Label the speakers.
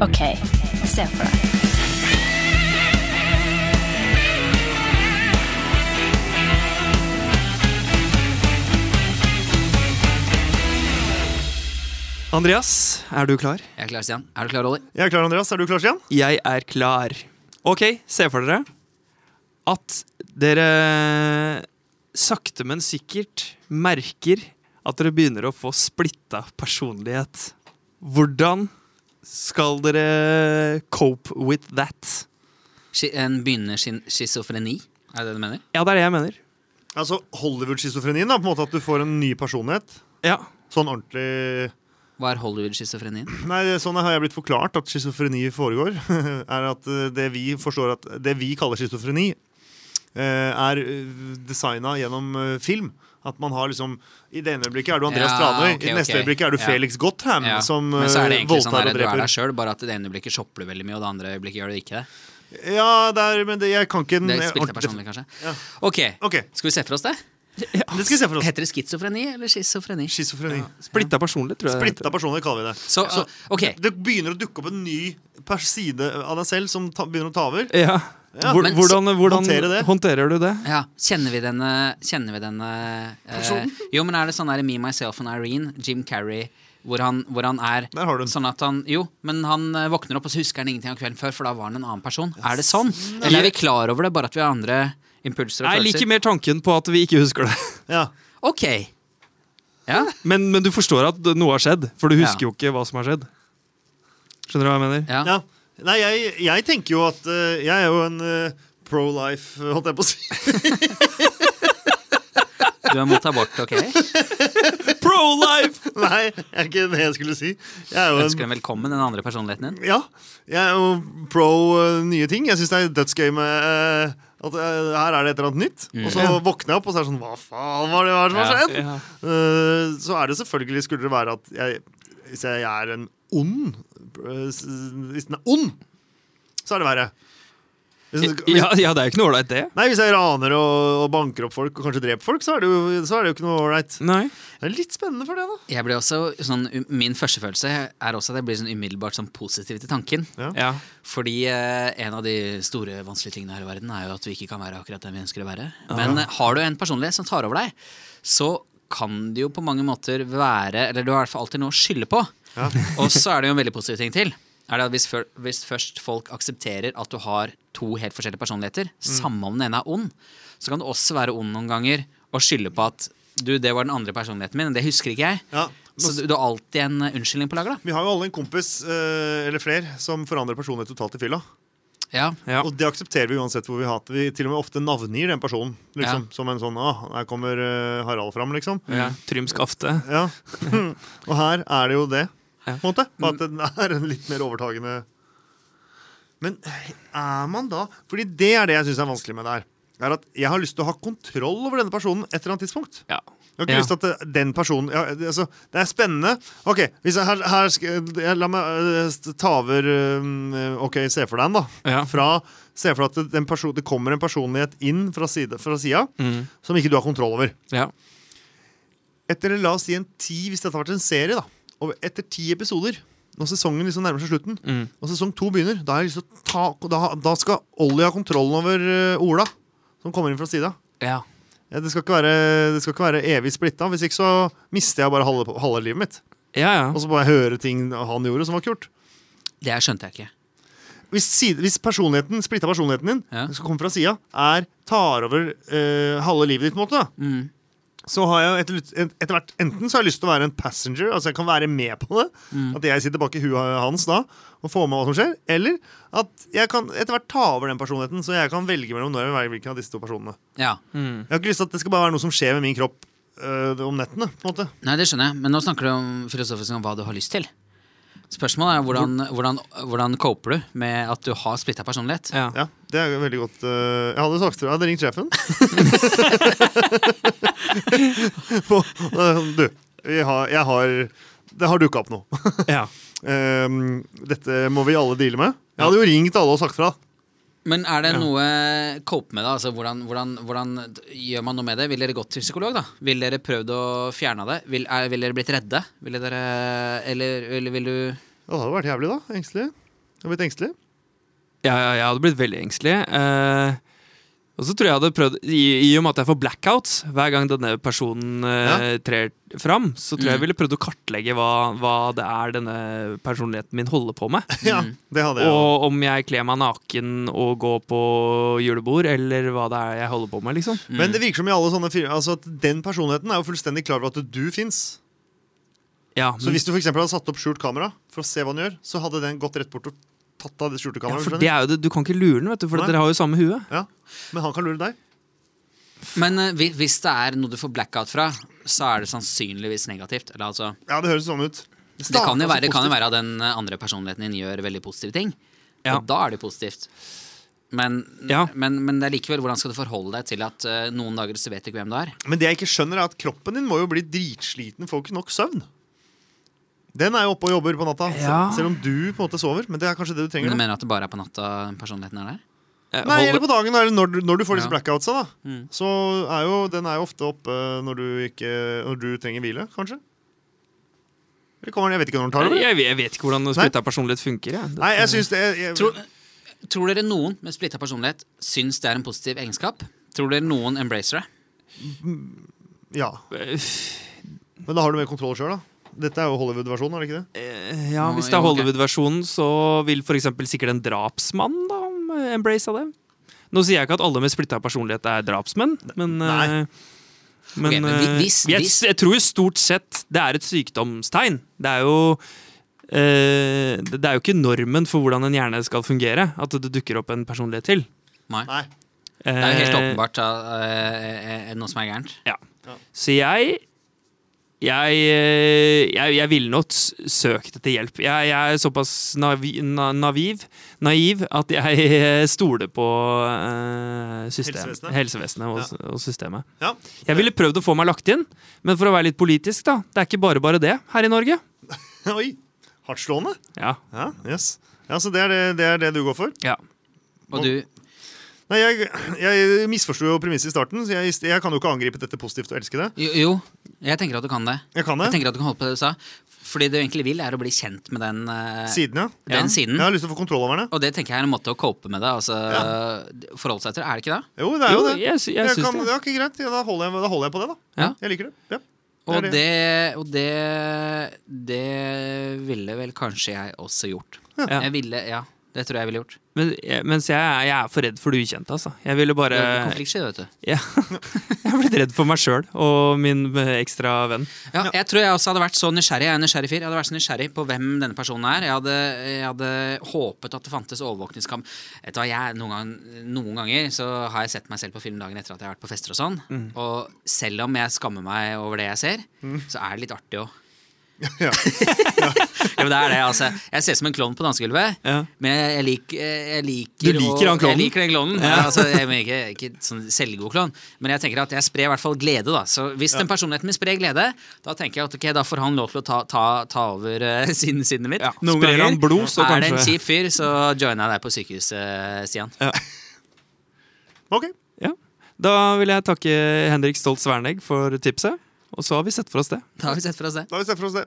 Speaker 1: OK, se for deg.
Speaker 2: Andreas, er du klar?
Speaker 3: Jeg er klar, Stian. Er du klar, Olli?
Speaker 2: Jeg er klar, Andreas. Er du klar, Stian? Jeg er klar. Ok, se for dere at dere sakte, men sikkert merker at dere begynner å få splitta personlighet. Hvordan skal dere cope with that?
Speaker 3: Ski- En begynner sin schizofreni? Er det det du mener?
Speaker 2: Ja, det er det jeg mener.
Speaker 4: Altså Hollywood-schizofrenien, da, på en måte at du får en ny personlighet.
Speaker 2: Ja,
Speaker 4: Sånn ordentlig
Speaker 3: Hva er Hollywood-schizofrenien?
Speaker 4: Nei, sånn har jeg blitt forklart at schizofreni foregår. er at eh, det vi forstår at det vi kaller schizofreni, eh, er designa gjennom eh, film. At man har liksom I det ene øyeblikket er du Andreas
Speaker 3: Ja,
Speaker 4: Tranøy,
Speaker 3: ok,
Speaker 4: i det neste
Speaker 3: ok.
Speaker 4: øyeblikket er du
Speaker 3: Ja.
Speaker 4: Felix Gotham
Speaker 3: Ja.
Speaker 4: som eh,
Speaker 3: Men så er det egentlig sånn
Speaker 4: voldtar
Speaker 3: der, du
Speaker 4: og
Speaker 3: er deg
Speaker 4: dreper.
Speaker 3: sjøl, bare at det ene øyeblikket shopper du veldig mye, og det andre øyeblikket gjør du ikke det.
Speaker 4: Ja, det er, men det, jeg kan ikke den
Speaker 3: Det spilte jeg
Speaker 4: Mm, ordentlig-
Speaker 3: personlig, kanskje.
Speaker 4: Ja.
Speaker 3: Ok,
Speaker 4: Ok,
Speaker 3: skal vi se for oss det?
Speaker 4: det skal vi se for oss.
Speaker 3: Heter det schizofreni eller schizofreni?
Speaker 4: Schizofreni.
Speaker 2: Splitta personlighet, tror jeg. det
Speaker 4: Splitta personer kaller vi det.
Speaker 3: Så,
Speaker 4: Så-
Speaker 3: ok,
Speaker 4: Det begynner å dukke opp en ny pers- side av deg selv som ta, begynner å ta over.
Speaker 2: heter. Ja.
Speaker 4: Ja,
Speaker 2: Hvor,
Speaker 3: men
Speaker 2: hvordan hvordan
Speaker 4: håndtere det.
Speaker 2: håndterer du det?
Speaker 3: ja, kjenner vi denne, kjenner vi denne eh,
Speaker 4: Personen?
Speaker 3: Jo, men er det sånn der i Me, Myself and Irene, Jim Carrey, hvor han, hvor han er
Speaker 4: Der har du den.
Speaker 3: Sånn at han, jo, men han eh, våkner opp og så husker han ingenting av kvelden før, for da var han en annen person. Er det sånn? Eller er vi klar over det, bare at vi har andre impulser og
Speaker 2: Jeg
Speaker 3: følelser?
Speaker 2: liker mer tanken på at vi ikke husker det.
Speaker 4: Ja.
Speaker 3: Ok. Ja,
Speaker 2: Men, men du forstår at noe har skjedd, for du husker
Speaker 3: Ja.
Speaker 2: jo ikke hva som har skjedd. Skjønner du hva jeg mener?
Speaker 3: ja.
Speaker 4: Ja. Nei, jeg, jeg tenker jo at eh, Jeg er jo en eh, pro-life, eh, holdt jeg på å si.
Speaker 3: Du er mot abort, ok?
Speaker 2: Pro-life!
Speaker 4: Nei, jeg er ikke det jeg skulle si. Jeg er jo
Speaker 3: Ønsker
Speaker 4: en
Speaker 3: dem velkommen, den andre personligheten din.
Speaker 4: ja, jeg er jo pro eh, nye ting. Jeg syns det er dødsgøy med eh, at eh, her er det et eller annet nytt. Og så våkner jeg opp, og så er det sånn Hva faen var det hva er det som har
Speaker 3: Mm. Ja.
Speaker 4: skjedd? Eh, så er det selvfølgelig Skulle det være at jeg, hvis jeg er en ond eh, s- Hvis den er ond, så er det verre. Hvis, hvis,
Speaker 2: Ja, ja, det er jo ikke noe ålreit, det.
Speaker 4: Nei, Hvis jeg raner og, og banker opp folk og kanskje dreper folk, så er det jo, så er det jo ikke noe ålreit.
Speaker 2: Nei.
Speaker 4: Det er litt spennende for det, da.
Speaker 3: Jeg blir også, sånn, um- min første følelse er også at jeg blir sånn umiddelbart sånn positiv til tanken.
Speaker 2: Ja.
Speaker 3: Fordi eh, en av de store vanskelige tingene her i verden er jo at vi ikke kan være akkurat den vi ønsker å være. Men eh, har du en personlighet som tar over deg, så kan det jo på mange måter være Eller du har i hvert fall alltid noe å skylde på. Og så er det jo en veldig positiv ting til. Er det at hvis, før, hvis først folk aksepterer at du har to helt forskjellige personligheter, samme om den ene er ond, så kan du også være ond noen ganger og skylde på at du, det var den andre personligheten min, det husker ikke jeg.
Speaker 4: Ja.
Speaker 3: Så du, du har alltid en eh, unnskyldning på lager, da.
Speaker 4: Vi har jo alle en kompis eh, eller flere som forandrer personlighet totalt i fylla.
Speaker 3: Ja,
Speaker 2: Ja.
Speaker 4: Og det aksepterer vi uansett hvor vi har hatt. Vi til og med ofte navngir den personen. Liksom, Som en sånn ah, her kommer eh, Harald fram, liksom.
Speaker 2: ja. Trym Skafte.
Speaker 4: Ja. og her er det jo det, på
Speaker 2: Ja. Mm.
Speaker 4: en måte. Bare at den er en litt mer overtagende Men er man da Fordi det er det jeg syns er vanskelig med det her. Er at jeg har lyst til å ha kontroll over denne personen et eller annet tidspunkt.
Speaker 2: Ja.
Speaker 4: Jeg har ikke
Speaker 2: Ja.
Speaker 4: lyst til at det- den personen ja, det- altså, Det er spennende. Ok, hvis jeg, her, her skal, jeg, La meg øh, st- ta over øh, Ok, se for deg en, da.
Speaker 2: Ja.
Speaker 4: Fra, se for deg at den person, det kommer en personlighet inn fra, side, fra sida
Speaker 2: Mm.
Speaker 4: som ikke du har kontroll over.
Speaker 2: ja.
Speaker 4: Etter la oss si en ti, hvis dette har vært en serie, da. Og etter ti episoder, når sesongen liksom nærmer seg slutten,
Speaker 2: Mm.
Speaker 4: og sesong to begynner, da, har jeg lyst til å ta, da, da skal Ollie ha kontrollen over øh, Ola, som kommer inn fra sida.
Speaker 2: ja.
Speaker 4: Ja, det, skal ikke være, det skal ikke være evig splitta. Hvis ikke så mister jeg bare halve, halve livet mitt.
Speaker 2: Ja, ja.
Speaker 4: Og så må jeg høre ting han gjorde som var kult.
Speaker 3: det skjønte jeg ikke.
Speaker 4: Hvis, side, hvis personligheten, splitta personligheten din,
Speaker 3: Ja.
Speaker 4: som kommer fra sida, er tar over eh, halve livet ditt, på en måte, da,
Speaker 3: Mm.
Speaker 4: så har jeg etter, lut- et- etter hvert Enten så har jeg lyst til å være en passenger, altså jeg kan være med på det,
Speaker 3: Mm.
Speaker 4: at jeg sitter bak i huet hans da og får med hva som skjer, eller at jeg kan etter hvert ta over den personligheten, så jeg kan velge mellom når jeg vil, hvilken av disse to personene.
Speaker 3: Ja.
Speaker 2: Mm.
Speaker 4: Jeg har ikke lyst til at det skal bare være noe som skjer med min kropp eh, om nettene, på en måte.
Speaker 3: Nei, det skjønner jeg. Men nå snakker du om filosofisk om hva du har lyst til. Spørsmålet er hvordan, hvordan, hvordan coper du med at du har splitta personlighet?
Speaker 2: ja.
Speaker 4: Ja, det er jo veldig godt. eh, Jeg hadde sagt til deg, jeg hadde ringt sjefen. På, eh, du, vi har, jeg har Det har dukka opp nå.
Speaker 2: ja.
Speaker 4: Ehm, dette må vi alle deale med. Jeg hadde jo ringt alle og sagt fra.
Speaker 3: Men er det noe cope med det? Altså, hvordan, hvordan, hvordan gjør man noe med det? Vil dere gått til psykolog, da? Vil dere prøvd å fjerne det? Vil, er, vil dere blitt redde? Vil dere Eller, eller vil du
Speaker 4: Det hadde vært jævlig, da. Engstelig. Du har blitt engstelig?
Speaker 2: Mm. Ja, ja, jeg hadde blitt veldig engstelig. Eh, og så tror jeg hadde prøvd i, I og med at jeg får blackouts hver gang denne personen eh, trer fram, så tror jeg jeg ville prøvd å kartlegge hva, hva det er denne personligheten min holder på med.
Speaker 4: Ja, det hadde jeg. også.
Speaker 2: Og om jeg kler meg naken og går på julebord, eller hva det er jeg holder på med, liksom.
Speaker 3: mm.
Speaker 4: Men det virker som i alle sånne filmer altså at den personligheten er jo fullstendig klar over at du fins.
Speaker 2: Ja,
Speaker 4: Så hvis du for eksempel hadde satt opp skjult kamera for å se hva den gjør, så hadde den gått rett bort og tatt av det skjulte
Speaker 2: ja,
Speaker 4: kameraet.
Speaker 2: for
Speaker 4: skjønner
Speaker 2: det er jo det, Du kan ikke lure den, vet du, for
Speaker 4: Nei.
Speaker 2: dere har jo samme hue.
Speaker 4: du? ja. Men han kan lure deg.
Speaker 3: Men eh, hvi- hvis det er noe du får blackout fra, så er det sannsynligvis negativt. Eller altså,
Speaker 4: Ja, det høres sånn ut.
Speaker 3: det kan jo være, kan jo være at den eh, andre personligheten din gjør veldig positive ting.
Speaker 2: Ja.
Speaker 3: Og da er det positivt. Men,
Speaker 2: Ja.
Speaker 3: men, men det er likevel hvordan skal du forholde deg til at eh, noen dager så vet du ikke hvem du er?
Speaker 4: Men det jeg ikke skjønner, er at kroppen din må jo bli dritsliten, får ikke nok søvn. Den er jo oppe og jobber på natta,
Speaker 2: Ja.
Speaker 4: selv om du på en måte sover. Men det er kanskje det
Speaker 3: Men
Speaker 4: du trenger.
Speaker 3: du
Speaker 4: da.
Speaker 3: mener at det bare er på natta personligheten er der?
Speaker 2: Jeg
Speaker 4: Nei,
Speaker 2: holder-
Speaker 4: eller på dagen, eller når, du- når du får disse
Speaker 3: Ja.
Speaker 4: blackoutsa, da.
Speaker 3: Mm.
Speaker 4: Så er jo, den er jo ofte oppe når du, ikke, når du trenger hvile, kanskje. Eller kommer den, jeg vet ikke når den tar over.
Speaker 2: jeg, jeg vet ikke hvordan splitta personlighet funker. Jeg.
Speaker 4: Nei, jeg syns det jeg,
Speaker 3: Tror, tror dere noen med splitta personlighet syns det er en positiv egenskap? Tror dere noen embracer det?
Speaker 4: Ja. Men da har du mer kontroll sjøl, da. Dette er jo Hollywood-versjonen, er det ikke det?
Speaker 2: Eh, Ja,
Speaker 3: Nå,
Speaker 2: Hvis det er
Speaker 3: jo, ok.
Speaker 2: Hollywood-versjonen, så vil f.eks. sikkert en drapsmann da eh, embrace av det. Nå sier jeg ikke at alle med splitta personlighet er drapsmenn, men
Speaker 4: Nei.
Speaker 2: eh, men,
Speaker 3: Ok, men vi-
Speaker 2: eh,
Speaker 3: hvis-
Speaker 2: jeg,
Speaker 3: hvis-
Speaker 2: jeg tror jo stort sett det er et sykdomstegn. Det er jo eh, det det er jo ikke normen for hvordan en hjerne skal fungere, at det dukker opp en personlighet til.
Speaker 3: Nei.
Speaker 4: Nei.
Speaker 3: Det er jo helt
Speaker 2: Eh,
Speaker 3: åpenbart eh, eh, noe som er gærent.
Speaker 2: Ja.
Speaker 4: Ja.
Speaker 2: Så jeg jeg, eh, jeg, jeg ville nok s- søkt etter hjelp. Jeg, jeg er såpass navi, na, naviv, naiv at jeg eh, stoler på eh, system,
Speaker 4: Helsevesenet?
Speaker 2: helsevesenet, og, s- og systemet.
Speaker 4: Ja.
Speaker 2: Jeg ville prøvd å få meg lagt inn, men for å være litt politisk, da. Det er ikke bare bare det her i Norge.
Speaker 4: Oi. Hardtslående.
Speaker 2: Ja.
Speaker 4: Ja, yes. ja, så det er det, det er det du går for?
Speaker 2: ja.
Speaker 3: Og du
Speaker 4: Nei, Jeg, jeg misforsto jo premisset i starten, så jeg, jeg kan jo ikke angripe dette positivt og elske det.
Speaker 3: Jo, jo, jeg tenker at du kan det.
Speaker 4: Jeg kan det.
Speaker 3: Jeg tenker at du kan holde på det du sa. Fordi det du egentlig vil, er å bli kjent med den, eh,
Speaker 4: Siden, ja.
Speaker 3: den siden.
Speaker 4: Jeg har lyst til å få kontroll over det.
Speaker 3: Og det tenker jeg er en måte å cope med det. Altså, Forholde seg til det, er det ikke det?
Speaker 4: Jo, det er jo,
Speaker 2: Jo,
Speaker 4: det.
Speaker 2: jeg sy- jeg syns
Speaker 4: kan,
Speaker 2: det.
Speaker 4: Ja, ikke greit. Ja, da, holder jeg, da holder jeg på det, da.
Speaker 3: Ja.
Speaker 4: Jeg liker det. Ja. Det er
Speaker 3: Og
Speaker 4: det.
Speaker 3: det, og det, det ville vel kanskje jeg også gjort.
Speaker 2: Ja.
Speaker 3: Jeg ville, ja, Det tror jeg jeg ville gjort.
Speaker 2: Men, jeg- mens jeg, er- jeg er for redd for det ukjente, altså. Jeg ville
Speaker 3: Du
Speaker 2: bare
Speaker 3: er konfliktsky, vet du.
Speaker 2: ja. Jeg er blitt redd for meg sjøl og min eh, ekstra venn.
Speaker 3: Ja, jeg tror jeg også hadde vært så nysgjerrig. Jeg er en nysgjerrig fyr. Jeg hadde vært så nysgjerrig på hvem denne personen er. Jeg hadde, jeg hadde håpet at det fantes overvåkningskam. Vet du hva, jeg, noen, gang, noen ganger så har jeg sett meg selv på film dagen etter at jeg har vært på fester og sånn.
Speaker 4: Mm.
Speaker 3: Og selv om jeg skammer meg over det jeg ser, så er det litt artig òg.
Speaker 4: Ja.
Speaker 3: Ja, men det er det, altså. Jeg ser ut som en klovn på dansegulvet,
Speaker 2: Ja.
Speaker 3: men jeg, jeg, lik, jeg liker
Speaker 2: Du liker han
Speaker 3: å-
Speaker 2: klovnen?
Speaker 3: Jeg liker den klovnen. Ja. altså, jeg mener ikke, ikke sånn selvgod klovn, men jeg tenker at jeg sprer i hvert fall glede, da. Så hvis den personligheten min sprer glede, da tenker jeg at ok, da får han lov til å ta, ta, ta over uh, sinnet mitt.
Speaker 2: Ja,
Speaker 3: Noen
Speaker 2: sprer
Speaker 3: ganger
Speaker 2: han blod, så
Speaker 3: er det en
Speaker 2: kanskje-
Speaker 3: kjip fyr, så joiner jeg deg på sykehuset, eh, Stian.
Speaker 4: Ok.
Speaker 2: Ja. Da vil jeg takke Henrik Stolt Svernegg for tipset. Og så har vi sett for oss det.
Speaker 3: Da har vi sett for oss det.
Speaker 4: Da har vi sett for oss det.